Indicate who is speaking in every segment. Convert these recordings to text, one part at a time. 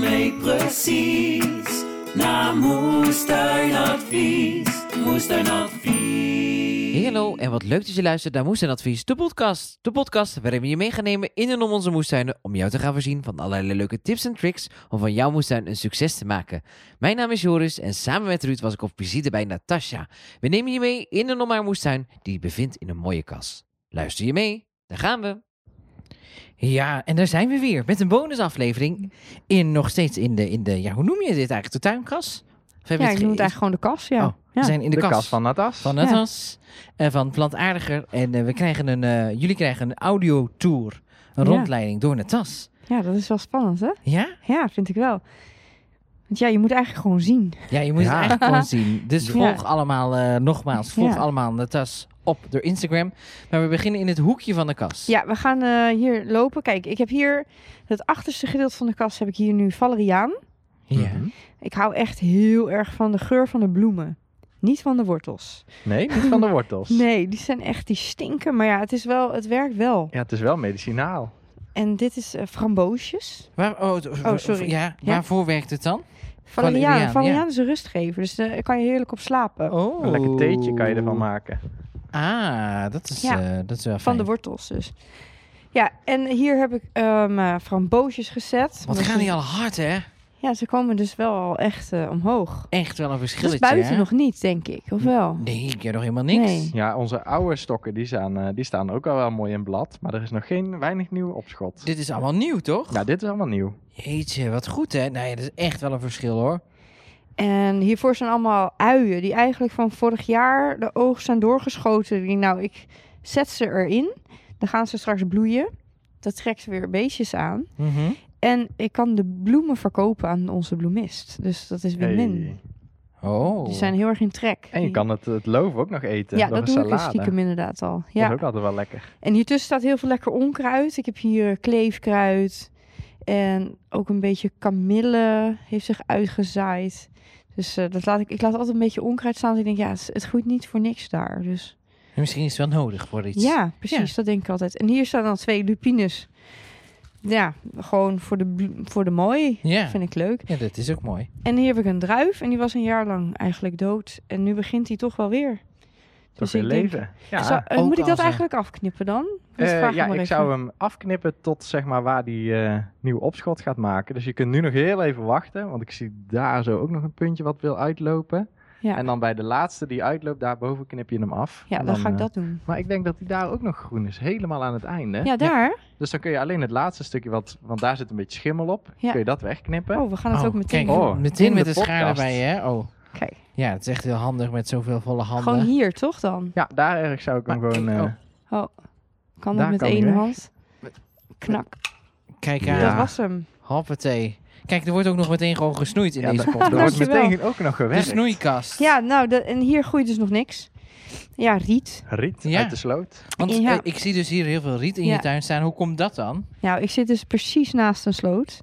Speaker 1: weet precies. Na moestuinadvies, moestuinadvies.
Speaker 2: Hey, hallo en wat leuk dat je luistert naar Moestuin Advies, de podcast. De podcast waarin we je mee gaan nemen in en om onze moestuinen om jou te gaan voorzien van allerlei leuke tips en tricks om van jouw moestuin een succes te maken. Mijn naam is Joris en samen met Ruud was ik op visite bij Natasha. We nemen je mee in en om haar moestuin die bevindt in een mooie kas. Luister je mee? Daar gaan we! Ja, en daar zijn we weer met een bonusaflevering in nog steeds in de, in de ja, hoe noem je dit eigenlijk? De tuinkas? Of hebben we
Speaker 3: Ja,
Speaker 2: het
Speaker 3: ik
Speaker 2: ge-
Speaker 3: noem het eigenlijk gewoon de kas, ja.
Speaker 2: Oh,
Speaker 3: ja.
Speaker 2: We zijn in de,
Speaker 4: de
Speaker 2: kas.
Speaker 4: kast van Natas.
Speaker 2: Van
Speaker 3: Ja.
Speaker 2: Natas en van Plantaardiger. En eh, we krijgen een, eh, jullie krijgen een audiotour. Een
Speaker 3: Ja.
Speaker 2: rondleiding door Natas.
Speaker 3: ja, dat is wel spannend, hè?
Speaker 2: Ja?
Speaker 3: Ja, vind ik wel. Want ja, je moet eigenlijk gewoon zien.
Speaker 2: Ja, je moet het
Speaker 4: Ja.
Speaker 2: eigenlijk gewoon zien. Dus
Speaker 3: Ja.
Speaker 2: volg allemaal, eh, nogmaals, volg
Speaker 3: Ja.
Speaker 2: allemaal Natas op door Instagram. Maar we beginnen in het hoekje van de kas.
Speaker 3: Ja, we gaan eh, hier lopen. Kijk, ik heb hier het achterste gedeelte van de kas heb ik hier nu valeriaan.
Speaker 2: Ja.
Speaker 4: Mhm.
Speaker 3: Ik hou echt heel erg van de geur van de bloemen. Niet van de wortels.
Speaker 4: Nee, niet van de wortels.
Speaker 3: Nee, die zijn echt, die stinken. Maar ja, het, is wel, het werkt wel.
Speaker 4: Ja, het is wel medicinaal.
Speaker 3: En dit is eh, framboosjes.
Speaker 2: Waar, oh, d-
Speaker 3: Oh, sorry.
Speaker 2: Ja,
Speaker 3: Ja.
Speaker 2: Waarvoor werkt het dan? Valeriaan,
Speaker 3: Valeriaan.
Speaker 2: ja.
Speaker 3: Valeriaan is een rustgever, dus daar kan je heerlijk op slapen.
Speaker 2: Oh.
Speaker 4: Een lekker theetje kan je ervan maken.
Speaker 2: Ah, dat is,
Speaker 3: Ja.
Speaker 2: eh, dat is wel
Speaker 3: Van
Speaker 2: fijn.
Speaker 3: de wortels dus. Ja, en hier heb ik ehm eh, framboosjes gezet.
Speaker 2: Wat
Speaker 3: Omdat
Speaker 2: gaan
Speaker 3: ze-
Speaker 2: die al hard, hè?
Speaker 3: Ja, ze komen dus wel al echt eh, omhoog.
Speaker 2: Echt wel een
Speaker 3: Dat
Speaker 2: verschilletje,
Speaker 3: is buiten
Speaker 2: hè?
Speaker 3: nog niet, denk ik.
Speaker 4: Mm.
Speaker 3: Of wel?
Speaker 2: Nee, ik heb nog helemaal niks.
Speaker 3: Nee.
Speaker 4: Ja, onze oude stokken die staan, eh, die staan ook al wel mooi in blad. Maar er is nog geen weinig nieuw opschot.
Speaker 2: Dit is allemaal nieuw, toch?
Speaker 4: Ja, dit is allemaal nieuw.
Speaker 2: Jeetje, wat goed hè? Nee, dat is echt wel een verschil hoor.
Speaker 3: En hiervoor zijn allemaal uien die eigenlijk van vorig jaar de oogst zijn doorgeschoten. Ik denk, nou, ik zet ze erin. Dan gaan ze straks bloeien. Dat trekt weer beestjes aan.
Speaker 4: Mhm.
Speaker 3: En ik kan de bloemen verkopen aan onze bloemist. Dus dat is win-win.
Speaker 4: Hey.
Speaker 2: Oh.
Speaker 3: Die zijn heel erg in trek.
Speaker 4: En je
Speaker 3: Die-
Speaker 4: kan het, het loof ook nog eten.
Speaker 3: ja,
Speaker 4: door
Speaker 3: dat
Speaker 4: een
Speaker 3: doe ik dus
Speaker 4: salade.
Speaker 3: stiekem inderdaad al. Ja. Dus
Speaker 4: Dat is ook altijd wel lekker.
Speaker 3: En hiertussen staat heel veel lekker onkruid. Ik heb hier kleefkruid en ook een beetje kamille heeft zich uitgezaaid. Dus eh, dat laat ik, ik laat altijd een beetje onkruid staan. Want ik denk, ja, het- het groeit niet voor niks daar. Dus
Speaker 2: Misschien is het wel nodig voor iets.
Speaker 3: ja, precies, dat denk ik altijd. En hier staan dan twee lupines. Ja, gewoon voor de, bl- voor de mooi.
Speaker 2: Ja.
Speaker 3: Vind ik leuk.
Speaker 2: Ja, dat is ook mooi.
Speaker 3: En hier heb ik een druif en die was een jaar lang eigenlijk dood. En nu begint die toch wel weer.
Speaker 4: Toch
Speaker 3: ik
Speaker 4: weer
Speaker 3: denk-
Speaker 4: leven. Ja,
Speaker 3: Zou- eh,
Speaker 2: ook
Speaker 3: moet ik
Speaker 2: als
Speaker 3: dat
Speaker 2: een-
Speaker 3: eigenlijk afknippen dan? Dat
Speaker 4: Eh,
Speaker 3: vraag ik
Speaker 4: ja
Speaker 3: maar
Speaker 4: ik
Speaker 3: even.
Speaker 4: zou hem afknippen tot zeg maar waar die eh, nieuw opschot gaat maken. Dus je kunt nu nog heel even wachten. Want ik zie daar zo ook nog een puntje wat wil uitlopen.
Speaker 3: Ja,
Speaker 4: En dan bij de laatste die uitloopt, daarboven knip je hem af.
Speaker 3: ja
Speaker 4: En
Speaker 3: dan, ga ik
Speaker 4: eh,
Speaker 3: dat doen.
Speaker 4: Maar ik denk dat die daar ook nog groen is, helemaal aan het einde.
Speaker 3: Ja, daar.
Speaker 4: Dus dan kun je alleen het laatste stukje, wat, want daar zit een beetje schimmel op,
Speaker 3: Ja.
Speaker 4: kun je dat wegknippen.
Speaker 3: Oh, we gaan het ook meteen
Speaker 2: Kijk,
Speaker 3: doen.
Speaker 4: Oh,
Speaker 2: meteen
Speaker 4: in
Speaker 2: met de,
Speaker 4: de
Speaker 2: schaar
Speaker 4: podcast.
Speaker 2: erbij hè? Oh.
Speaker 3: Kijk,
Speaker 2: Ja, het is echt heel handig met zoveel volle handen.
Speaker 3: gewoon hier toch dan?
Speaker 4: Ja, daar erg zou ik hem
Speaker 2: Maar
Speaker 4: gewoon...
Speaker 2: ik-
Speaker 4: eh,
Speaker 2: oh,
Speaker 3: Oh, kan dat
Speaker 4: Daar
Speaker 3: met
Speaker 4: kan
Speaker 3: één
Speaker 4: hij weg.
Speaker 3: hand? Knak,
Speaker 2: Kijk
Speaker 4: Ja.
Speaker 2: aan.
Speaker 3: dat was hem.
Speaker 2: Hoppatee. Kijk, er wordt ook nog meteen gewoon gesnoeid in
Speaker 4: ja,
Speaker 2: deze
Speaker 4: daar-
Speaker 2: podcast.
Speaker 4: daar wordt
Speaker 3: Dankjewel.
Speaker 4: meteen ook nog
Speaker 2: De
Speaker 4: gewerkt.
Speaker 2: snoeikast.
Speaker 3: Ja, nou, dat- en hier groeit dus nog niks. Ja, riet.
Speaker 4: Riet
Speaker 2: Ja.
Speaker 4: uit de sloot.
Speaker 2: Want
Speaker 3: Ja.
Speaker 2: eh, ik zie dus hier heel veel riet in
Speaker 3: Ja.
Speaker 2: je tuin staan. Hoe komt dat dan?
Speaker 3: Nou, ik zit dus precies naast een sloot.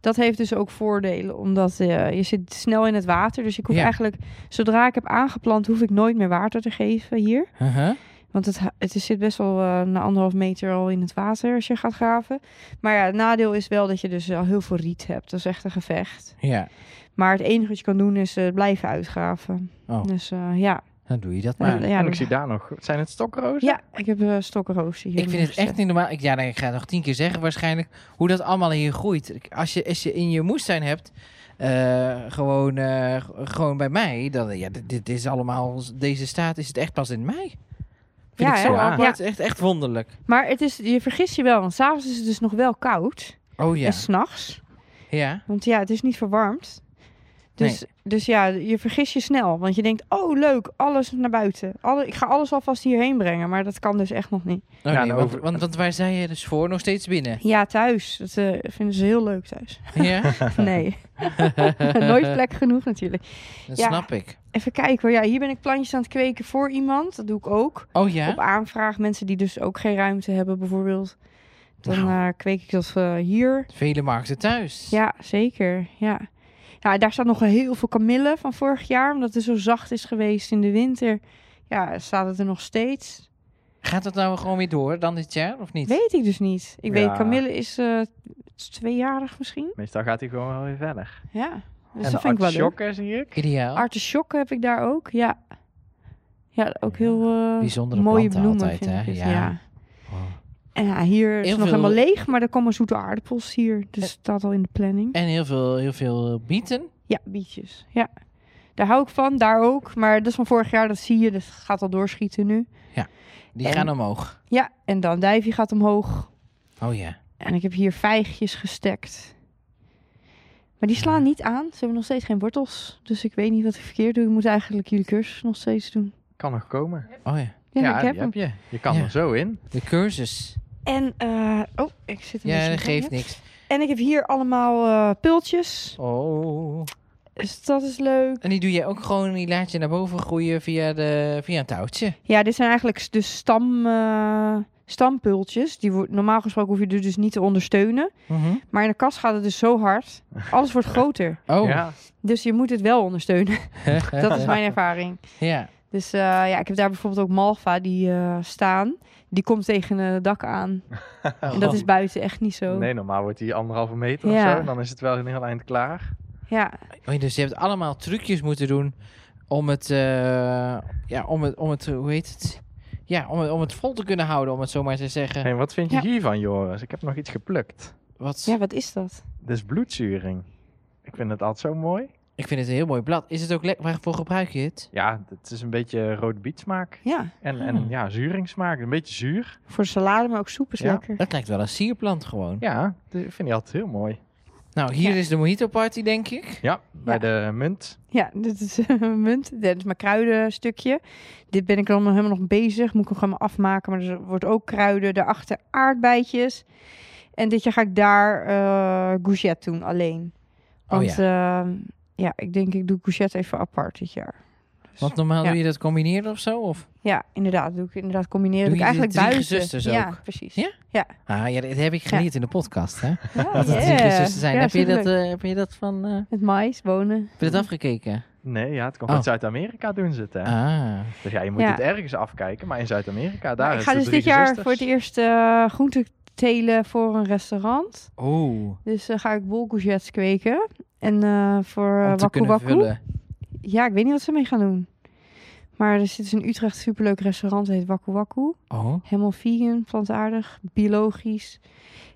Speaker 3: Dat heeft dus ook voordelen, omdat eh, je zit snel in het water. Dus ik hoef
Speaker 2: Ja.
Speaker 3: eigenlijk, zodra ik heb aangeplant, hoef ik nooit meer water te geven hier.
Speaker 2: Uh-huh.
Speaker 3: Want het, ha- het is- zit best wel eh, na anderhalf meter al in het water als je gaat graven. Maar ja, het nadeel is wel dat je dus al heel veel riet hebt. Dat is echt een gevecht.
Speaker 2: Ja,
Speaker 3: Maar het enige wat je kan doen is eh, blijven uitgraven.
Speaker 2: Oh.
Speaker 3: Dus eh, ja.
Speaker 2: dan doe je dat
Speaker 3: Ja,
Speaker 2: maar.
Speaker 3: ja,
Speaker 4: en
Speaker 3: dat-
Speaker 4: ik zie daar nog... Zijn het stokrozen?
Speaker 3: ja, ik heb eh stokkenrozen hier.
Speaker 2: Ik vind het echt niet normaal. Ik, ja, nee, ik ga het nog tien keer zeggen waarschijnlijk hoe dat allemaal hier groeit. Ik- Als je, als je in je moestuin hebt, eh, gewoon, eh, g- gewoon bij mij, dan, ja, dit, dit is allemaal, deze staat is het echt pas in mei. Vind
Speaker 3: Ja,
Speaker 2: ik zo
Speaker 3: hè?
Speaker 2: apart.
Speaker 3: Ja.
Speaker 2: Het is Echt, echt wonderlijk.
Speaker 3: Maar het is, je vergist je wel, want s'avonds is het dus nog wel koud.
Speaker 2: Oh ja,
Speaker 3: En s'nachts.
Speaker 2: ja.
Speaker 3: Want ja, het is niet verwarmd. Dus, dus ja, je vergis je snel. Want je denkt, oh leuk, alles naar buiten. Alle, ik ga alles alvast hierheen brengen. Maar dat kan dus echt nog niet.
Speaker 2: Oh,
Speaker 4: Ja,
Speaker 2: nee,
Speaker 4: nou,
Speaker 2: want,
Speaker 4: over-
Speaker 2: want, want waar zijn je dus voor? Nog steeds binnen.
Speaker 3: Ja, thuis. Dat eh, vinden ze heel leuk thuis.
Speaker 2: Ja,
Speaker 3: Nee. Nooit plek genoeg natuurlijk.
Speaker 2: dat
Speaker 3: Ja.
Speaker 2: snap ik.
Speaker 3: Even kijken. hoor. Ja, hier ben ik plantjes aan het kweken voor iemand. Dat doe ik ook.
Speaker 2: Oh ja?
Speaker 3: op aanvraag. Mensen die dus ook geen ruimte hebben, bijvoorbeeld. Dan eh, kweek ik dat eh, hier.
Speaker 2: Vele markten thuis.
Speaker 3: Ja, zeker. Ja. ja, daar staat nog heel veel kamille van vorig jaar. Omdat het zo zacht is geweest in de winter. Ja, staat het er nog steeds?
Speaker 2: Gaat dat nou gewoon weer door dan dit jaar of niet?
Speaker 3: Weet ik dus niet. Ik
Speaker 4: Ja.
Speaker 3: weet, kamille is eh, is tweejarig misschien.
Speaker 4: Meestal gaat hij gewoon wel weer verder.
Speaker 3: Ja, dus
Speaker 4: en
Speaker 3: dat vind ik wel leuk.
Speaker 4: artisjokken zie ik.
Speaker 2: Ideaal.
Speaker 3: Artisjokken heb ik daar ook, ja. Ja, ook heel eh,
Speaker 2: Bijzondere
Speaker 3: mooie
Speaker 2: planten
Speaker 3: bloemen
Speaker 2: altijd,
Speaker 3: vind
Speaker 2: hè?
Speaker 3: ik het,
Speaker 2: Ja.
Speaker 3: ja. En ja, hier is
Speaker 2: Heel
Speaker 3: het nog
Speaker 2: veel- Eh.
Speaker 3: helemaal leeg, maar er komen zoete aardappels hier. Dus het staat al in de planning.
Speaker 2: En heel veel, heel veel bieten.
Speaker 3: Ja, bietjes. Ja. Daar hou ik van, daar ook. Maar dat is van vorig jaar, dat zie je. Dat gaat al doorschieten nu.
Speaker 2: Die
Speaker 3: En-
Speaker 2: gaan omhoog.
Speaker 3: Ja, en dan duifje gaat omhoog.
Speaker 2: Oh ja.
Speaker 3: En ik heb hier vijgjes gestekt. Maar die slaan niet aan. Ze hebben nog steeds geen wortels. Dus ik weet niet wat ik verkeerd doe. Ik moet eigenlijk jullie cursus nog steeds doen.
Speaker 4: Kan nog komen.
Speaker 2: Oh ja.
Speaker 3: Ja,
Speaker 4: ja,
Speaker 3: ik
Speaker 4: die
Speaker 3: heb hem.
Speaker 4: je. Je kan
Speaker 2: Ja.
Speaker 4: er zo in.
Speaker 2: De cursus.
Speaker 3: En, eh, oh, ik zit een
Speaker 2: Ja,
Speaker 3: beetje
Speaker 2: dat
Speaker 3: in de
Speaker 2: geeft
Speaker 3: weg.
Speaker 2: niks.
Speaker 3: En ik heb hier allemaal eh, pultjes.
Speaker 2: Oh.
Speaker 3: Dus dat is leuk.
Speaker 2: En die doe je ook gewoon, die laat je naar boven groeien via, de, via een touwtje.
Speaker 3: Ja, dit zijn eigenlijk de stam, eh, stampultjes. Die, wo- normaal gesproken hoef je er dus niet te ondersteunen.
Speaker 2: Mhm.
Speaker 3: Maar in de kast gaat het dus zo hard. Alles wordt groter.
Speaker 2: Oh.
Speaker 4: Ja.
Speaker 3: Dus je moet het wel ondersteunen. Dat is mijn ervaring.
Speaker 2: ja.
Speaker 3: Dus eh, ja, ik heb daar bijvoorbeeld ook Malva die eh, staan. Die komt tegen een dak aan. En dat is buiten echt niet zo.
Speaker 4: Nee, normaal wordt die anderhalve meter of
Speaker 3: Ja.
Speaker 4: zo. En dan is het wel een heel eind klaar.
Speaker 3: Ja,
Speaker 2: Oh, dus je hebt allemaal trucjes moeten doen om het, eh, ja, om het, om het, hoe heet het? Ja, om het, om het vol te kunnen houden, om het zo maar te zeggen.
Speaker 4: En wat vind je
Speaker 3: Ja.
Speaker 4: hiervan, Joris? Ik heb nog iets geplukt.
Speaker 2: Wat,
Speaker 3: ja wat is dat?
Speaker 4: Dit is bloedzuring. Ik vind het altijd zo mooi.
Speaker 2: Ik vind het een heel mooi blad. Is het ook lekker? Waarvoor gebruik je het?
Speaker 4: Ja, het is een beetje rode bietsmaak.
Speaker 3: Ja,
Speaker 4: En,
Speaker 2: Hmm.
Speaker 4: en ja, zuringsmaak. Een beetje zuur.
Speaker 3: voor salade, maar ook soep is
Speaker 4: Ja.
Speaker 3: lekker.
Speaker 2: Dat lijkt wel een sierplant gewoon.
Speaker 4: Ja, de- ik vind die altijd heel mooi.
Speaker 2: Nou, hier
Speaker 3: Ja.
Speaker 2: is de mojito party, denk ik.
Speaker 4: Ja, bij
Speaker 3: Ja.
Speaker 4: de munt.
Speaker 3: Ja, dit is een munt. Dit is mijn kruidenstukje. Dit ben ik dan nog helemaal nog bezig. Moet ik nog helemaal afmaken. Maar er wordt ook kruiden. Daarachter aardbeidjes. En dit jaar ga ik daar eh courgette doen, alleen. Want
Speaker 2: oh ja.
Speaker 3: ja. ja, ik denk ik doe courgette even apart dit jaar.
Speaker 2: Want normaal
Speaker 3: ja.
Speaker 2: doe je dat combineren of zo? Of?
Speaker 3: Ja, inderdaad. Doe ik inderdaad combineren.
Speaker 2: Doe
Speaker 3: Doe ik
Speaker 2: je die
Speaker 3: eigenlijk
Speaker 2: drie
Speaker 3: buiten.
Speaker 2: gezusters ook?
Speaker 3: Ja, precies.
Speaker 2: Ja? Ah ja, dat heb ik geleerd in de podcast, hè?
Speaker 3: Ja,
Speaker 2: Dat het
Speaker 3: yeah.
Speaker 2: drie zussen zijn.
Speaker 3: Ja,
Speaker 2: heb, je dat,
Speaker 3: superleuk.
Speaker 2: eh, heb je dat van, eh,
Speaker 3: Met mais, wonen.
Speaker 2: heb je dat afgekeken?
Speaker 4: Nee, ja, het komt
Speaker 2: Oh.
Speaker 4: uit Zuid-Amerika doen ze het, hè?
Speaker 2: Ah.
Speaker 4: Dus ja, je moet
Speaker 3: Ja.
Speaker 4: het ergens afkijken. Maar in Zuid-Amerika, daar
Speaker 3: ik
Speaker 4: is
Speaker 3: ga
Speaker 4: de
Speaker 3: dus
Speaker 4: Drie
Speaker 3: dit jaar
Speaker 4: Zusters.
Speaker 3: voor het eerst eh groenten telen voor een restaurant.
Speaker 2: Oh.
Speaker 3: Dus dan ga ik bolcourgettes kweken. En eh, voor eh
Speaker 2: Om te
Speaker 3: Waku
Speaker 2: kunnen
Speaker 3: Waku.
Speaker 2: vullen.
Speaker 3: Ja, ik weet niet wat ze mee gaan doen. Maar er zit dus in Utrecht een superleuk restaurant. Het heet Waku Waku.
Speaker 2: Oh.
Speaker 3: Helemaal vegan, plantaardig, biologisch.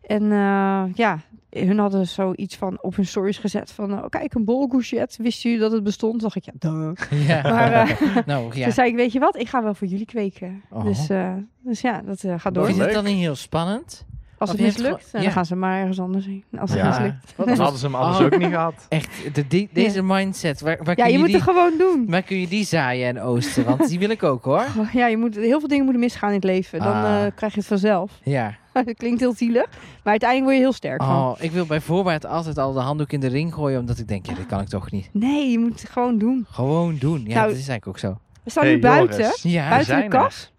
Speaker 3: En eh, ja, hun hadden zoiets van op hun stories gezet van... oh, kijk, een bolcourgette. Wist jullie dat het bestond? dacht ik, ja, duh.
Speaker 2: Ja.
Speaker 3: Maar eh,
Speaker 2: nou, ja.
Speaker 3: toen zei ik, weet je wat? Ik ga wel voor jullie kweken.
Speaker 2: Oh.
Speaker 3: Dus, eh, dus ja, dat eh, gaat door.
Speaker 2: Vind je het
Speaker 4: Leuk.
Speaker 2: dan niet heel spannend?
Speaker 3: Als
Speaker 2: Of
Speaker 3: het
Speaker 2: je hebt
Speaker 3: mislukt, eh,
Speaker 2: gewoon-
Speaker 3: dan
Speaker 2: ja.
Speaker 3: gaan ze maar ergens anders heen. Als het
Speaker 4: Ja.
Speaker 3: mislukt.
Speaker 4: Dan hadden ze hem anders
Speaker 2: Oh.
Speaker 4: ook niet gehad.
Speaker 2: Echt, de, die- deze mindset. Waar, waar,
Speaker 3: Ja,
Speaker 2: kun
Speaker 3: je
Speaker 2: je
Speaker 3: moet
Speaker 2: die,
Speaker 3: het gewoon doen.
Speaker 2: waar kun je die zaaien en oosten? Want die wil ik ook hoor.
Speaker 3: Oh, Ja, je moet, heel veel dingen moeten misgaan in het leven. Dan
Speaker 2: Ah.
Speaker 3: eh, krijg je het vanzelf.
Speaker 2: Ja.
Speaker 3: dat klinkt heel zielig, maar uiteindelijk word je heel sterk van.
Speaker 2: Oh, ik wil bij voorbaat altijd al de handdoek in de ring gooien. Omdat ik denk, ja, dat kan ik toch niet.
Speaker 3: Nee, je moet het gewoon doen.
Speaker 2: Gewoon doen. Ja,
Speaker 3: Nou,
Speaker 2: dat is eigenlijk ook zo.
Speaker 3: We staan
Speaker 4: Hey,
Speaker 3: nu buiten.
Speaker 4: Joris,
Speaker 2: Ja.
Speaker 4: we
Speaker 3: buiten de
Speaker 4: zijn er.
Speaker 3: kas.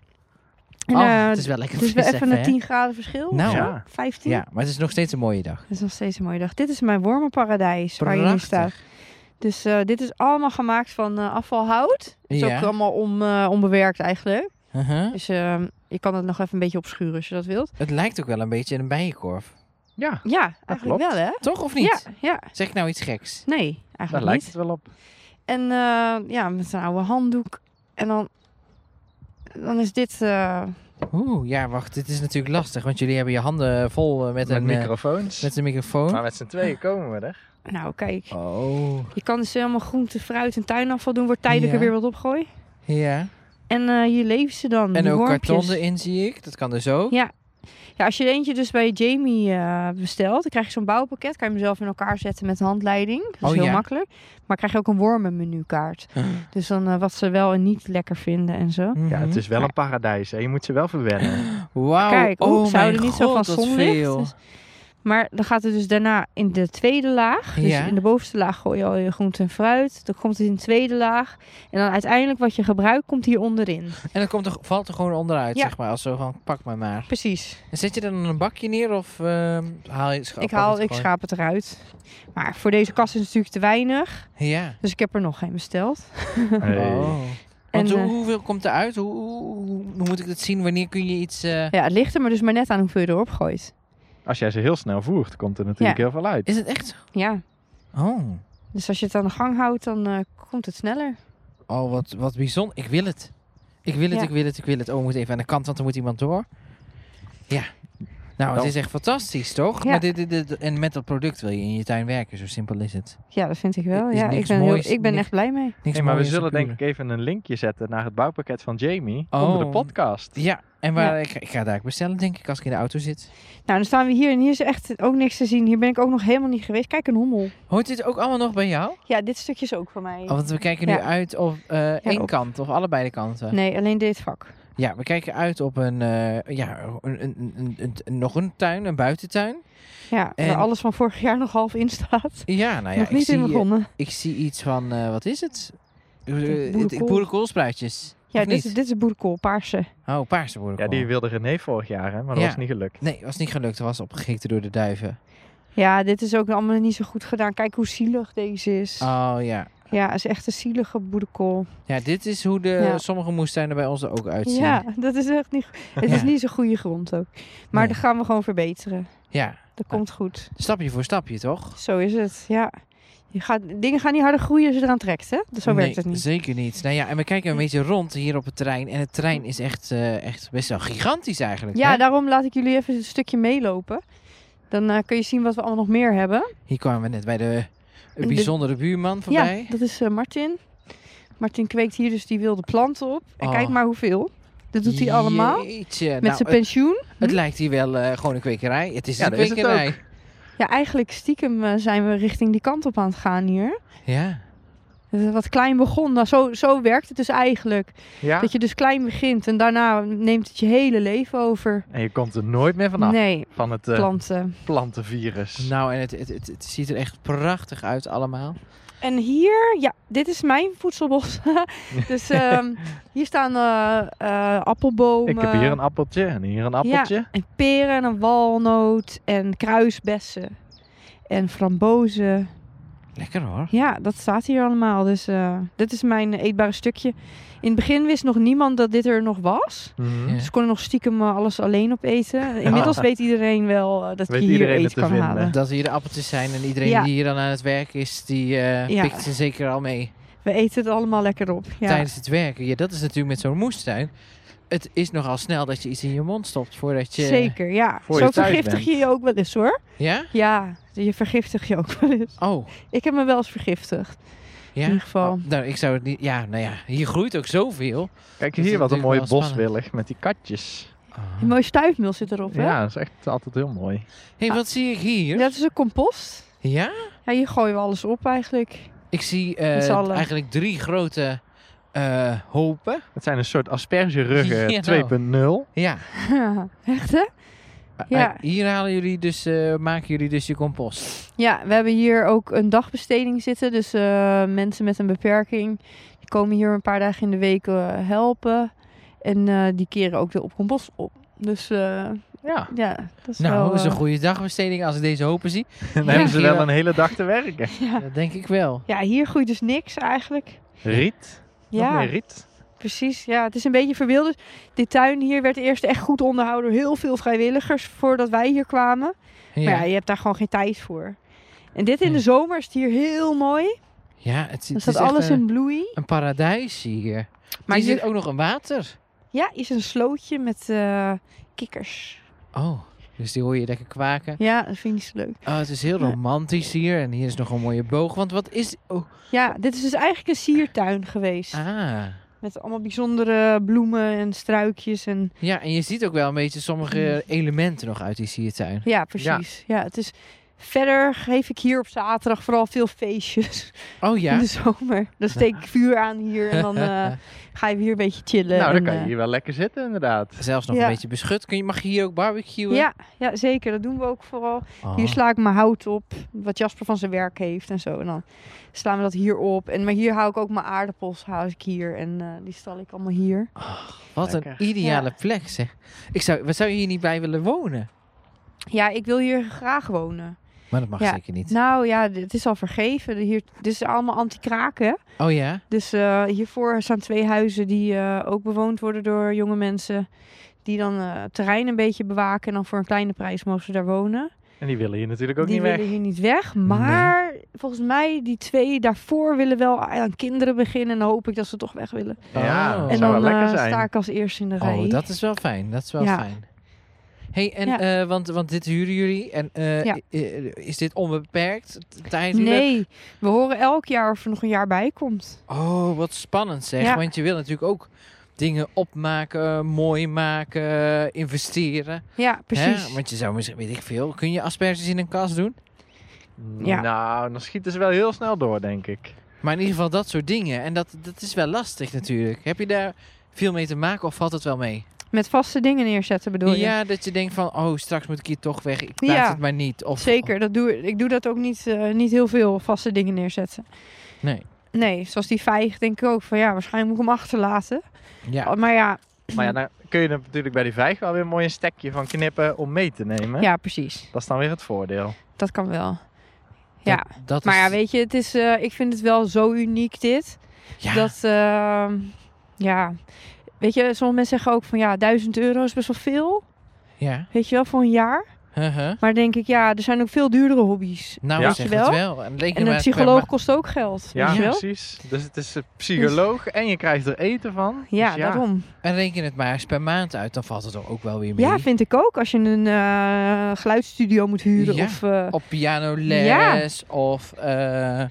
Speaker 3: En,
Speaker 2: Oh,
Speaker 3: eh,
Speaker 2: het is wel lekker
Speaker 3: het is wel
Speaker 2: fris
Speaker 3: even een
Speaker 2: hè?
Speaker 3: 10 graden verschil.
Speaker 2: Nou.
Speaker 4: Ja.
Speaker 3: 15.
Speaker 2: Ja, maar het is nog steeds een mooie dag.
Speaker 3: Dat is nog steeds een mooie dag. Dit is mijn wormenparadijs waar je nu
Speaker 2: Prachtig.
Speaker 3: staat. Dus eh, dit is allemaal gemaakt van eh, afvalhout. Het is
Speaker 2: Ja.
Speaker 3: ook allemaal on- eh, onbewerkt eigenlijk.
Speaker 2: Uh-huh.
Speaker 3: Dus eh, je kan het nog even een beetje opschuren als je dat wilt.
Speaker 2: Het lijkt ook wel een beetje een bijenkorf.
Speaker 4: Ja,
Speaker 3: Ja, eigenlijk
Speaker 4: klopt.
Speaker 3: wel hè?
Speaker 2: Toch of niet?
Speaker 3: Ja, ja.
Speaker 2: Zeg ik nou iets geks?
Speaker 3: Nee,
Speaker 4: daar
Speaker 3: eigenlijk
Speaker 4: lijkt
Speaker 3: niet.
Speaker 4: het wel op.
Speaker 3: En eh, ja, met een oude handdoek. En dan, dan is dit... eh,
Speaker 2: Oeh, ja, wacht. Dit is natuurlijk lastig, want jullie hebben je handen vol eh, met,
Speaker 4: Met
Speaker 2: een eh,
Speaker 4: microfoons.
Speaker 2: met een microfoon.
Speaker 4: Maar met z'n tweeën komen we er.
Speaker 3: nou, kijk.
Speaker 2: Oh,
Speaker 3: Je kan dus helemaal groente, fruit en tuinafval doen. Wordt tijdelijk
Speaker 2: Ja.
Speaker 3: er weer wat opgooien.
Speaker 2: ja.
Speaker 3: En eh, hier leven ze dan.
Speaker 2: En
Speaker 3: die
Speaker 2: ook
Speaker 3: wormpjes.
Speaker 2: karton erin zie ik. Dat kan dus ook.
Speaker 3: Ja. Ja, als je eentje dus bij Jamie eh, bestelt, dan krijg je zo'n bouwpakket. Kan je hem zelf in elkaar zetten met handleiding. Dat is
Speaker 2: Oh,
Speaker 3: heel
Speaker 2: ja.
Speaker 3: makkelijk. Maar krijg je ook een wormenmenukaart. Dus dan eh, wat ze wel en niet lekker vinden en zo.
Speaker 2: Mhm.
Speaker 4: Ja, het is wel een paradijs. Hè. Je moet ze wel verwennen.
Speaker 2: Wauw.
Speaker 3: Kijk, oeh,
Speaker 2: oh
Speaker 3: ze houden
Speaker 2: mijn
Speaker 3: niet zo van
Speaker 2: god, wat
Speaker 3: zonlicht.
Speaker 2: veel.
Speaker 3: Dus- Maar dan gaat het dus daarna in de tweede laag. Dus
Speaker 2: Ja.
Speaker 3: in de bovenste laag gooi je al je groente en fruit. Dan komt het in de tweede laag. En dan uiteindelijk wat je gebruikt, komt hier onderin.
Speaker 2: En dan komt er, valt er gewoon onderuit,
Speaker 3: Ja.
Speaker 2: zeg maar. Als zo van, pak me maar.
Speaker 3: Precies.
Speaker 2: En zet je dan een bakje neer of ehm, haal je scha-
Speaker 3: ik
Speaker 2: pak
Speaker 3: haal,
Speaker 2: je het
Speaker 3: ik
Speaker 2: gewoon?
Speaker 3: schaap het eruit. Maar voor deze kast is het natuurlijk te weinig.
Speaker 2: Ja.
Speaker 3: Dus ik heb er nog geen besteld.
Speaker 4: Hey.
Speaker 2: Oh. Want
Speaker 3: En,
Speaker 2: hoe-
Speaker 3: eh,
Speaker 2: hoeveel komt eruit? Hoe, hoe, hoe- hoe moet ik dat zien? Wanneer kun je iets... eh,
Speaker 3: Ja, het ligt er maar dus maar net aan hoeveel je erop gooit.
Speaker 4: Als jij ze heel snel voert, komt er natuurlijk
Speaker 3: Ja.
Speaker 4: heel veel uit.
Speaker 2: Is het echt zo?
Speaker 3: Ja,
Speaker 2: Oh,
Speaker 3: dus als je het aan de gang houdt, dan eh, komt het sneller.
Speaker 2: oh wat, wat bijzonder. Ik wil het. Ik wil het,
Speaker 3: Ja.
Speaker 2: ik wil het, ik wil het. Oh, we moeten even aan de kant, want er moet iemand door. Ja. Nou, het
Speaker 4: Nou.
Speaker 2: is echt fantastisch, toch?
Speaker 3: Ja.
Speaker 2: Maar dit, dit, dit- en met dat product wil je in je tuin werken, zo simpel is het.
Speaker 3: Ja, dat vind ik wel.
Speaker 2: Er is
Speaker 3: Ja, ik
Speaker 2: niks
Speaker 3: ben, heel,
Speaker 2: moois,
Speaker 3: ik ben
Speaker 2: niks-
Speaker 3: echt blij mee.
Speaker 2: Niks
Speaker 4: Hey, maar we
Speaker 2: mooier dan
Speaker 4: zullen denk ik
Speaker 2: puur.
Speaker 4: even een linkje zetten naar het bouwpakket van Jamie
Speaker 2: Oh.
Speaker 4: onder de podcast.
Speaker 2: Ja, en waar, Ik, ik ga daar bestellen, denk ik, als ik in de auto zit.
Speaker 3: Nou, dan staan we hier en hier is echt ook niks te zien. Hier ben ik ook nog helemaal niet geweest. Kijk, een hommel.
Speaker 2: Hoort dit ook allemaal nog bij jou?
Speaker 3: Ja, dit stukje is ook van mij.
Speaker 2: Oh, want we kijken nu
Speaker 3: Ja.
Speaker 2: uit op eh, één
Speaker 3: op-
Speaker 2: kant, of allebei de kanten.
Speaker 3: Nee, alleen dit vak.
Speaker 2: Ja, we kijken uit op een, eh, ja, een, een, een, een- een- nog een tuin, een buitentuin.
Speaker 3: Ja,
Speaker 2: En-
Speaker 3: waar alles van vorig jaar nog half in staat.
Speaker 2: Ja, nou ja,
Speaker 3: nog
Speaker 2: ik
Speaker 3: niet
Speaker 2: zie,
Speaker 3: in begonnen.
Speaker 2: eh, ik zie iets van, eh, wat is het? Eh,
Speaker 3: denk
Speaker 2: het-
Speaker 3: boerenkool.
Speaker 2: Boerenkoolspruitjes.
Speaker 3: ja,
Speaker 2: Of
Speaker 3: dit
Speaker 2: niet?
Speaker 3: is, dit is boerenkool, paarse.
Speaker 2: Oh, paarse
Speaker 4: Ja,
Speaker 2: boerenkool.
Speaker 4: die wilde René vorig jaar, hè, maar dat
Speaker 2: Ja.
Speaker 4: was niet gelukt.
Speaker 2: Nee, was niet gelukt. Dat was opgegeten door de duiven.
Speaker 3: Ja, dit is ook allemaal niet zo goed gedaan. Kijk hoe zielig deze is.
Speaker 2: Oh ja.
Speaker 3: Ja, het is echt een zielige boerenkool.
Speaker 2: Ja, dit is hoe de,
Speaker 3: Ja.
Speaker 2: sommige moestuinen bij ons er ook uitzien.
Speaker 3: Ja, dat is echt niet... Het is
Speaker 2: Ja.
Speaker 3: niet zo'n goede grond ook. Maar
Speaker 2: Nee. Ah.
Speaker 3: dat gaan we gewoon verbeteren.
Speaker 2: ja,
Speaker 3: Dat komt goed.
Speaker 2: stapje voor stapje, toch?
Speaker 3: Zo is het, ja. Je gaat, dingen gaan niet harder groeien als je eraan trekt, hè? Zo
Speaker 2: Nee,
Speaker 3: werkt het niet.
Speaker 2: Zeker niet. Nou ja, en we kijken een beetje rond hier op het terrein. En het terrein is echt, eh, echt best wel gigantisch eigenlijk.
Speaker 3: Ja,
Speaker 2: hè?
Speaker 3: daarom laat ik jullie even een stukje meelopen. Dan eh, kun je zien wat we allemaal nog meer hebben.
Speaker 2: Hier kwamen we net bij de eh,
Speaker 3: De-
Speaker 2: bijzondere buurman voorbij.
Speaker 3: Ja, dat is eh, Martin. Martin kweekt hier dus die wilde planten op. En
Speaker 2: Oh.
Speaker 3: kijk maar hoeveel. Dat doet hij allemaal.
Speaker 2: Jeetje,
Speaker 3: Met
Speaker 2: nou,
Speaker 3: zijn
Speaker 2: het,
Speaker 3: pensioen.
Speaker 2: het lijkt hier wel eh, gewoon een kwekerij. Het is
Speaker 4: Ja,
Speaker 2: een
Speaker 4: dat is het
Speaker 2: kwekerij.
Speaker 3: Ja, eigenlijk stiekem eh, zijn we richting die kant op aan het gaan hier.
Speaker 2: Ja.
Speaker 3: Dat is wat klein begon. Nou, zo, zo werkt het dus eigenlijk.
Speaker 4: Ja,
Speaker 3: Dat je dus klein begint en daarna neemt het je hele leven over.
Speaker 4: en je komt er nooit meer vanaf
Speaker 3: Nee,
Speaker 4: van het eh,
Speaker 3: planten.
Speaker 4: plantenvirus.
Speaker 2: Nou, en het, het, het, het ziet er echt prachtig uit allemaal.
Speaker 3: En hier, ja, dit is mijn voedselbos. dus ehm, hier staan eh, eh, appelbomen.
Speaker 4: ik heb hier een appeltje en hier een appeltje.
Speaker 3: En peren en een walnoot en kruisbessen. En frambozen.
Speaker 2: Lekker hoor.
Speaker 3: Ja, dat staat hier allemaal. Dus eh, dit is mijn eetbare stukje. In het begin wist nog niemand dat dit er nog was.
Speaker 4: Mhm.
Speaker 2: Ja.
Speaker 3: Dus ze konden nog stiekem eh, alles alleen opeten. Inmiddels weet iedereen wel eh, dat
Speaker 4: Weet
Speaker 3: je hier
Speaker 4: iedereen
Speaker 3: eten
Speaker 4: het te
Speaker 3: kan
Speaker 4: vinden.
Speaker 3: halen.
Speaker 2: Eh, Dat hier de appeltjes zijn en iedereen
Speaker 3: Ja.
Speaker 2: die hier dan aan het werk is, die eh,
Speaker 3: Ja.
Speaker 2: pikt ze zeker al mee
Speaker 3: We eten het allemaal lekker op. Ja,
Speaker 2: tijdens het werken. Ja, dat is natuurlijk met zo'n moestuin. Het is nogal snel dat je iets in je mond stopt voordat je...
Speaker 3: zeker. Ja.
Speaker 4: Voor je
Speaker 3: Zo
Speaker 4: thuis
Speaker 3: vergiftig
Speaker 4: bent.
Speaker 3: je je ook wel eens hoor.
Speaker 2: Ja?
Speaker 3: Ja, je vergiftig je ook wel eens.
Speaker 2: Oh,
Speaker 3: Ik heb me wel eens vergiftigd.
Speaker 2: ja.
Speaker 3: In ieder geval.
Speaker 2: Oh, nou, ik zou het niet... Ja, nou ja, hier groeit ook zoveel. Dus
Speaker 4: Kijk
Speaker 2: Dat
Speaker 4: hier,
Speaker 2: is
Speaker 4: wat een mooie
Speaker 2: natuurlijk wel
Speaker 4: boswillig met die katjes.
Speaker 2: Ah.
Speaker 3: Een mooie stuifmeel zit erop. Hè?
Speaker 4: Ja, dat is echt altijd heel mooi.
Speaker 3: Ah.
Speaker 2: hey, wat zie ik hier?
Speaker 3: Dat is een compost.
Speaker 2: Ja?
Speaker 3: Ja, hier gooien we alles op eigenlijk.
Speaker 2: Ik zie eh,
Speaker 3: Met z'n allen.
Speaker 2: eigenlijk drie grote eh, hopen.
Speaker 4: Het zijn een soort aspergeruggen
Speaker 2: Ja, nou.
Speaker 4: 2.0.
Speaker 2: Ja.
Speaker 3: Echt hè? Ja.
Speaker 2: Eh, Hier halen jullie dus, eh, maken jullie dus je compost.
Speaker 3: Ja, we hebben hier ook een dagbesteding zitten. Dus eh, mensen met een beperking die komen hier een paar dagen in de week eh, helpen. En eh, die keren ook de op compost op. Dus eh,
Speaker 4: Ja,
Speaker 3: ja, dat is
Speaker 2: nou,
Speaker 3: wel...
Speaker 2: dat is een
Speaker 3: eh,
Speaker 2: goede dagbesteding als ik deze hopen zie.
Speaker 4: dan
Speaker 3: Ja.
Speaker 4: hebben ze
Speaker 2: Hier
Speaker 4: wel
Speaker 2: wel.
Speaker 4: een hele dag te werken.
Speaker 3: Ja.
Speaker 2: Dat denk ik wel.
Speaker 3: ja, hier groeit dus niks eigenlijk.
Speaker 4: Riet, ja. nog
Speaker 3: Ja,
Speaker 4: meer riet.
Speaker 3: precies. Ja, het is een beetje verwilderd. Die tuin hier werd eerst echt goed onderhouden door heel veel vrijwilligers voordat wij hier kwamen.
Speaker 2: Ja,
Speaker 3: Maar ja, je hebt daar gewoon geen tijd voor. En dit in de zomer is het hier heel mooi.
Speaker 2: ja het, het
Speaker 3: Dan
Speaker 2: is
Speaker 3: staat
Speaker 2: echt
Speaker 3: alles
Speaker 2: een,
Speaker 3: in bloei.
Speaker 2: een paradijs hier. Maar
Speaker 3: Maar
Speaker 2: hier
Speaker 3: hier,
Speaker 2: zit ook nog een water.
Speaker 3: ja, is een slootje met eh, kikkers.
Speaker 2: Oh, dus die hoor je lekker kwaken.
Speaker 3: Ja, dat vind ik zo leuk.
Speaker 2: Oh, het is heel
Speaker 3: Nee.
Speaker 2: romantisch hier. En hier is nog een mooie boog. Want wat is... Oh,
Speaker 3: Ja, dit is dus eigenlijk een siertuin geweest.
Speaker 2: ah.
Speaker 3: Met allemaal bijzondere bloemen en struikjes. En,
Speaker 2: Ja, en je ziet ook wel een beetje sommige elementen nog uit die siertuin.
Speaker 3: ja, precies. Ja. het is... Verder geef ik hier op zaterdag vooral veel feestjes
Speaker 2: Oh ja.
Speaker 3: in de zomer. Dan steek ik vuur aan hier en dan eh, ga je weer een beetje chillen.
Speaker 4: Nou, dan
Speaker 3: en,
Speaker 4: kan je
Speaker 3: eh,
Speaker 4: hier wel lekker zitten inderdaad.
Speaker 2: Zelfs nog
Speaker 3: Ja.
Speaker 2: een beetje beschut. Kun je, mag je hier ook barbecuen?
Speaker 3: ja, ja, zeker. Dat doen we ook vooral.
Speaker 2: Oh.
Speaker 3: Hier sla ik mijn hout op, wat Jasper van zijn werk heeft en zo. En dan slaan we dat hier op. En, maar hier hou ik ook mijn aardappels, hou ik hier. En eh, die stal ik allemaal hier.
Speaker 2: Wat
Speaker 4: Lekker.
Speaker 2: een ideale plek zeg. Ik zou, wat zou je hier niet bij willen wonen?
Speaker 3: Ja, ik wil hier graag wonen.
Speaker 2: Maar dat mag
Speaker 3: Ja.
Speaker 2: zeker niet.
Speaker 3: Nou ja, d- het is al vergeven. Hier, dit is allemaal anti-kraken.
Speaker 2: Oh ja?
Speaker 3: Dus eh, hiervoor staan twee huizen die eh, ook bewoond worden door jonge mensen. die dan eh, het terrein een beetje bewaken. En dan voor een kleine prijs mogen ze daar wonen.
Speaker 4: En die willen hier natuurlijk ook
Speaker 3: die
Speaker 4: niet weg.
Speaker 3: willen hier niet weg. Maar volgens mij, die twee daarvoor willen wel aan kinderen beginnen. En dan hoop ik dat ze toch weg willen.
Speaker 4: Ja,
Speaker 2: Oh.
Speaker 4: dat
Speaker 3: en
Speaker 4: zou
Speaker 3: dan
Speaker 4: wel lekker
Speaker 3: eh,
Speaker 4: zijn.
Speaker 3: sta ik als eerste in de rij.
Speaker 2: Oh, dat is wel fijn. Dat is wel
Speaker 3: Ja.
Speaker 2: fijn. hey, en
Speaker 3: Ja.
Speaker 2: eh, want, want dit huren jullie en eh,
Speaker 3: Ja.
Speaker 2: i- i- is dit onbeperkt t- tijdelijk?
Speaker 3: Nee, we horen elk jaar of er nog een jaar bij komt.
Speaker 2: Oh, wat spannend zeg.
Speaker 3: Ja.
Speaker 2: Want je wil natuurlijk ook dingen opmaken, mooi maken, investeren.
Speaker 3: Ja, precies.
Speaker 2: Hè? Want je zou misschien, weet ik veel, kun je asperges in een kast doen?
Speaker 3: Ja.
Speaker 4: Nou, dan schieten ze wel heel snel door, denk ik.
Speaker 2: Maar in ieder geval dat soort dingen. En dat, dat is wel lastig natuurlijk. Heb je daar veel mee te maken of valt het wel mee?
Speaker 3: Met vaste dingen neerzetten bedoel je?
Speaker 2: Ja, dat je denkt van, oh, straks moet ik hier toch weg. Ik laat
Speaker 3: Ja.
Speaker 2: het maar niet. Of,
Speaker 3: Zeker, dat doe, ik- ik doe dat ook niet, eh, niet heel veel, vaste dingen neerzetten.
Speaker 2: Nee.
Speaker 3: Nee, zoals die vijg denk ik ook van ja, waarschijnlijk moet ik hem achterlaten.
Speaker 2: Ja.
Speaker 3: Maar ja,
Speaker 4: Maar ja, dan kun je er natuurlijk bij die vijg wel weer mooi een stekje van knippen om mee te nemen.
Speaker 3: ja, precies.
Speaker 4: Dat is dan weer het voordeel.
Speaker 3: Dat kan wel. Ja,
Speaker 2: Dat, dat
Speaker 3: maar
Speaker 2: is,
Speaker 3: ja, weet je, het is, eh, ik vind het wel zo uniek dit.
Speaker 2: ja.
Speaker 3: Dat, ehm, ja, weet je, sommige mensen zeggen ook van ja, 1000 euro is best wel veel.
Speaker 2: Ja.
Speaker 3: Weet je wel, voor een jaar.
Speaker 2: Huh-huh.
Speaker 3: Maar dan denk ik, ja, er zijn ook veel duurdere hobby's.
Speaker 2: Nou,
Speaker 4: Ja.
Speaker 2: ja. zeg
Speaker 3: Weet je
Speaker 2: het
Speaker 3: wel?
Speaker 2: wel. En, leek
Speaker 3: En
Speaker 2: me
Speaker 3: een
Speaker 2: maar-
Speaker 3: psycholoog kost ook geld.
Speaker 4: Ja,
Speaker 3: weet je wel? Dus-
Speaker 4: precies. Dus het is eh, psycholoog en je krijgt er eten van.
Speaker 3: Ja,
Speaker 4: Dus
Speaker 3: daarom.
Speaker 2: En reken het maar eens per maand uit, dan valt het er ook wel weer mee.
Speaker 3: Ja, vind ik ook. Als je een eh, geluidsstudio moet huren
Speaker 2: Ja.
Speaker 3: of... eh,
Speaker 2: Op pianoles of eh,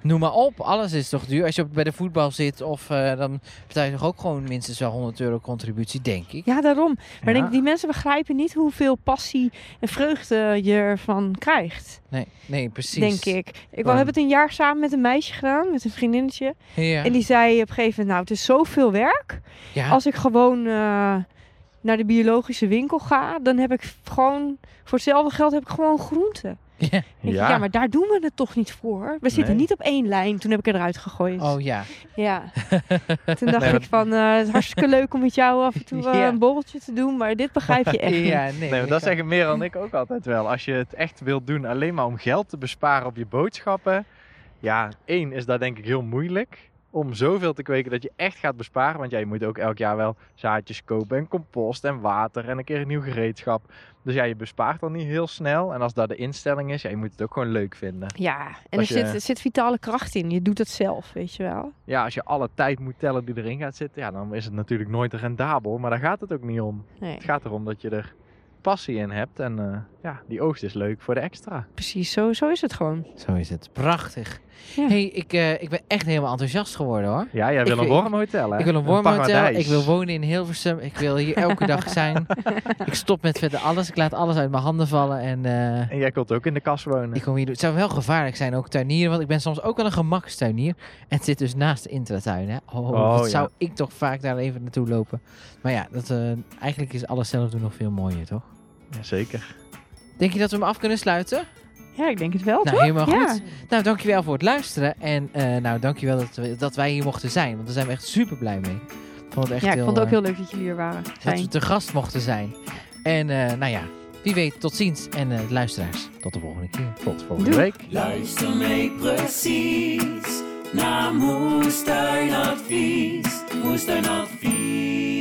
Speaker 2: noem maar op. Alles is toch duur. Als je op- bij de voetbal zit, of, eh, dan betaal je toch ook gewoon minstens wel 100 euro contributie, denk ik.
Speaker 3: ja, daarom. Maar ik
Speaker 4: Ja.
Speaker 3: denk, die mensen begrijpen niet hoeveel passie en vreugde je ervan krijgt,
Speaker 2: Nee, nee precies.
Speaker 3: denk ik. Ik
Speaker 4: Ja.
Speaker 3: heb het een jaar samen met een meisje gedaan, met een vriendinnetje.
Speaker 2: Ja.
Speaker 3: En die zei op een gegeven moment, nou, het is zoveel werk.
Speaker 2: ja.
Speaker 3: Als ik gewoon eh, naar de biologische winkel ga, dan heb ik gewoon... Voor hetzelfde geld heb ik gewoon groenten.
Speaker 2: Ja.
Speaker 3: Dan denk ik,
Speaker 4: Ja.
Speaker 3: ja, maar daar doen we het toch niet voor? We zitten
Speaker 4: Nee.
Speaker 3: niet op één lijn. Toen heb ik eruit gegooid.
Speaker 2: Oh ja.
Speaker 3: Ja. Toen dacht
Speaker 4: Nee,
Speaker 3: ik van, eh, het is hartstikke leuk om met jou af en toe eh,
Speaker 2: Ja.
Speaker 3: een borreltje te doen, maar dit begrijp je echt niet.
Speaker 2: ja nee,
Speaker 4: Nee, maar dat
Speaker 2: kan-
Speaker 4: zeggen Merel en ik ook altijd wel. Als je het echt wilt doen alleen maar om geld te besparen op je boodschappen. Ja, één is daar denk ik heel moeilijk. Om zoveel te kweken dat je echt gaat besparen. Want jij moet ook elk jaar wel zaadjes kopen en compost en water en een keer een nieuw gereedschap. Dus ja, je bespaart dan niet heel snel. En als dat de instelling is, ja, je moet het ook gewoon leuk vinden.
Speaker 3: Ja, en er
Speaker 4: Als je-
Speaker 3: zit, er zit vitale kracht in. Je doet het zelf, weet je wel.
Speaker 4: Ja, als je alle tijd moet tellen die erin gaat zitten, ja, dan is het natuurlijk nooit rendabel. Maar daar gaat het ook niet om.
Speaker 3: Nee,
Speaker 4: Het gaat erom dat je er passie in hebt. En eh, ja, die oogst is leuk voor de extra.
Speaker 3: precies. Zo, zo is het gewoon.
Speaker 2: Zo is het. Prachtig.
Speaker 3: Ja.
Speaker 2: hey, ik, eh, ik ben echt helemaal enthousiast geworden hoor.
Speaker 4: Ja, jij
Speaker 2: Ik-
Speaker 4: wil een
Speaker 2: ik-
Speaker 4: warmhotel, hè?
Speaker 2: Ik wil een warm hotel.
Speaker 4: paradijs.
Speaker 2: Ik wil wonen in Hilversum. Ik wil hier elke dag zijn. Ik stop met verder alles. Ik laat alles uit mijn handen vallen. En eh,
Speaker 4: En jij wilt ook in de kas wonen.
Speaker 2: ik kom hier doen. Het zou wel gevaarlijk zijn, ook tuinieren. Want ik ben soms ook wel een gemakstuinier. En het zit dus naast de intratuin. Hè? Oh,
Speaker 4: Oh,
Speaker 2: wat
Speaker 4: ja.
Speaker 2: zou ik toch vaak daar even naartoe lopen. Maar ja, dat, eh, eigenlijk is alles zelf doen nog veel mooier, toch?
Speaker 4: Ja, zeker.
Speaker 2: Denk je dat we hem af kunnen sluiten?
Speaker 3: Ja, ik denk het wel,
Speaker 2: Nou,
Speaker 3: toch?
Speaker 2: helemaal
Speaker 3: Ja.
Speaker 2: goed. Nou, dankjewel voor het luisteren. En eh nou, dankjewel dat, we- dat wij hier mochten zijn. Want daar zijn we echt super blij mee. Ik vond het echt
Speaker 3: Ja, ik vond het
Speaker 2: eh,
Speaker 3: ook heel leuk dat jullie hier waren.
Speaker 2: dat we
Speaker 3: Fijn.
Speaker 2: te gast mochten zijn. En eh, nou ja, wie weet, tot ziens. En eh, luisteraars, tot de volgende keer.
Speaker 4: Tot volgende
Speaker 3: Doei.
Speaker 4: week.
Speaker 1: Luister mee precies naar Moestuinadvies. Moestuinadvies.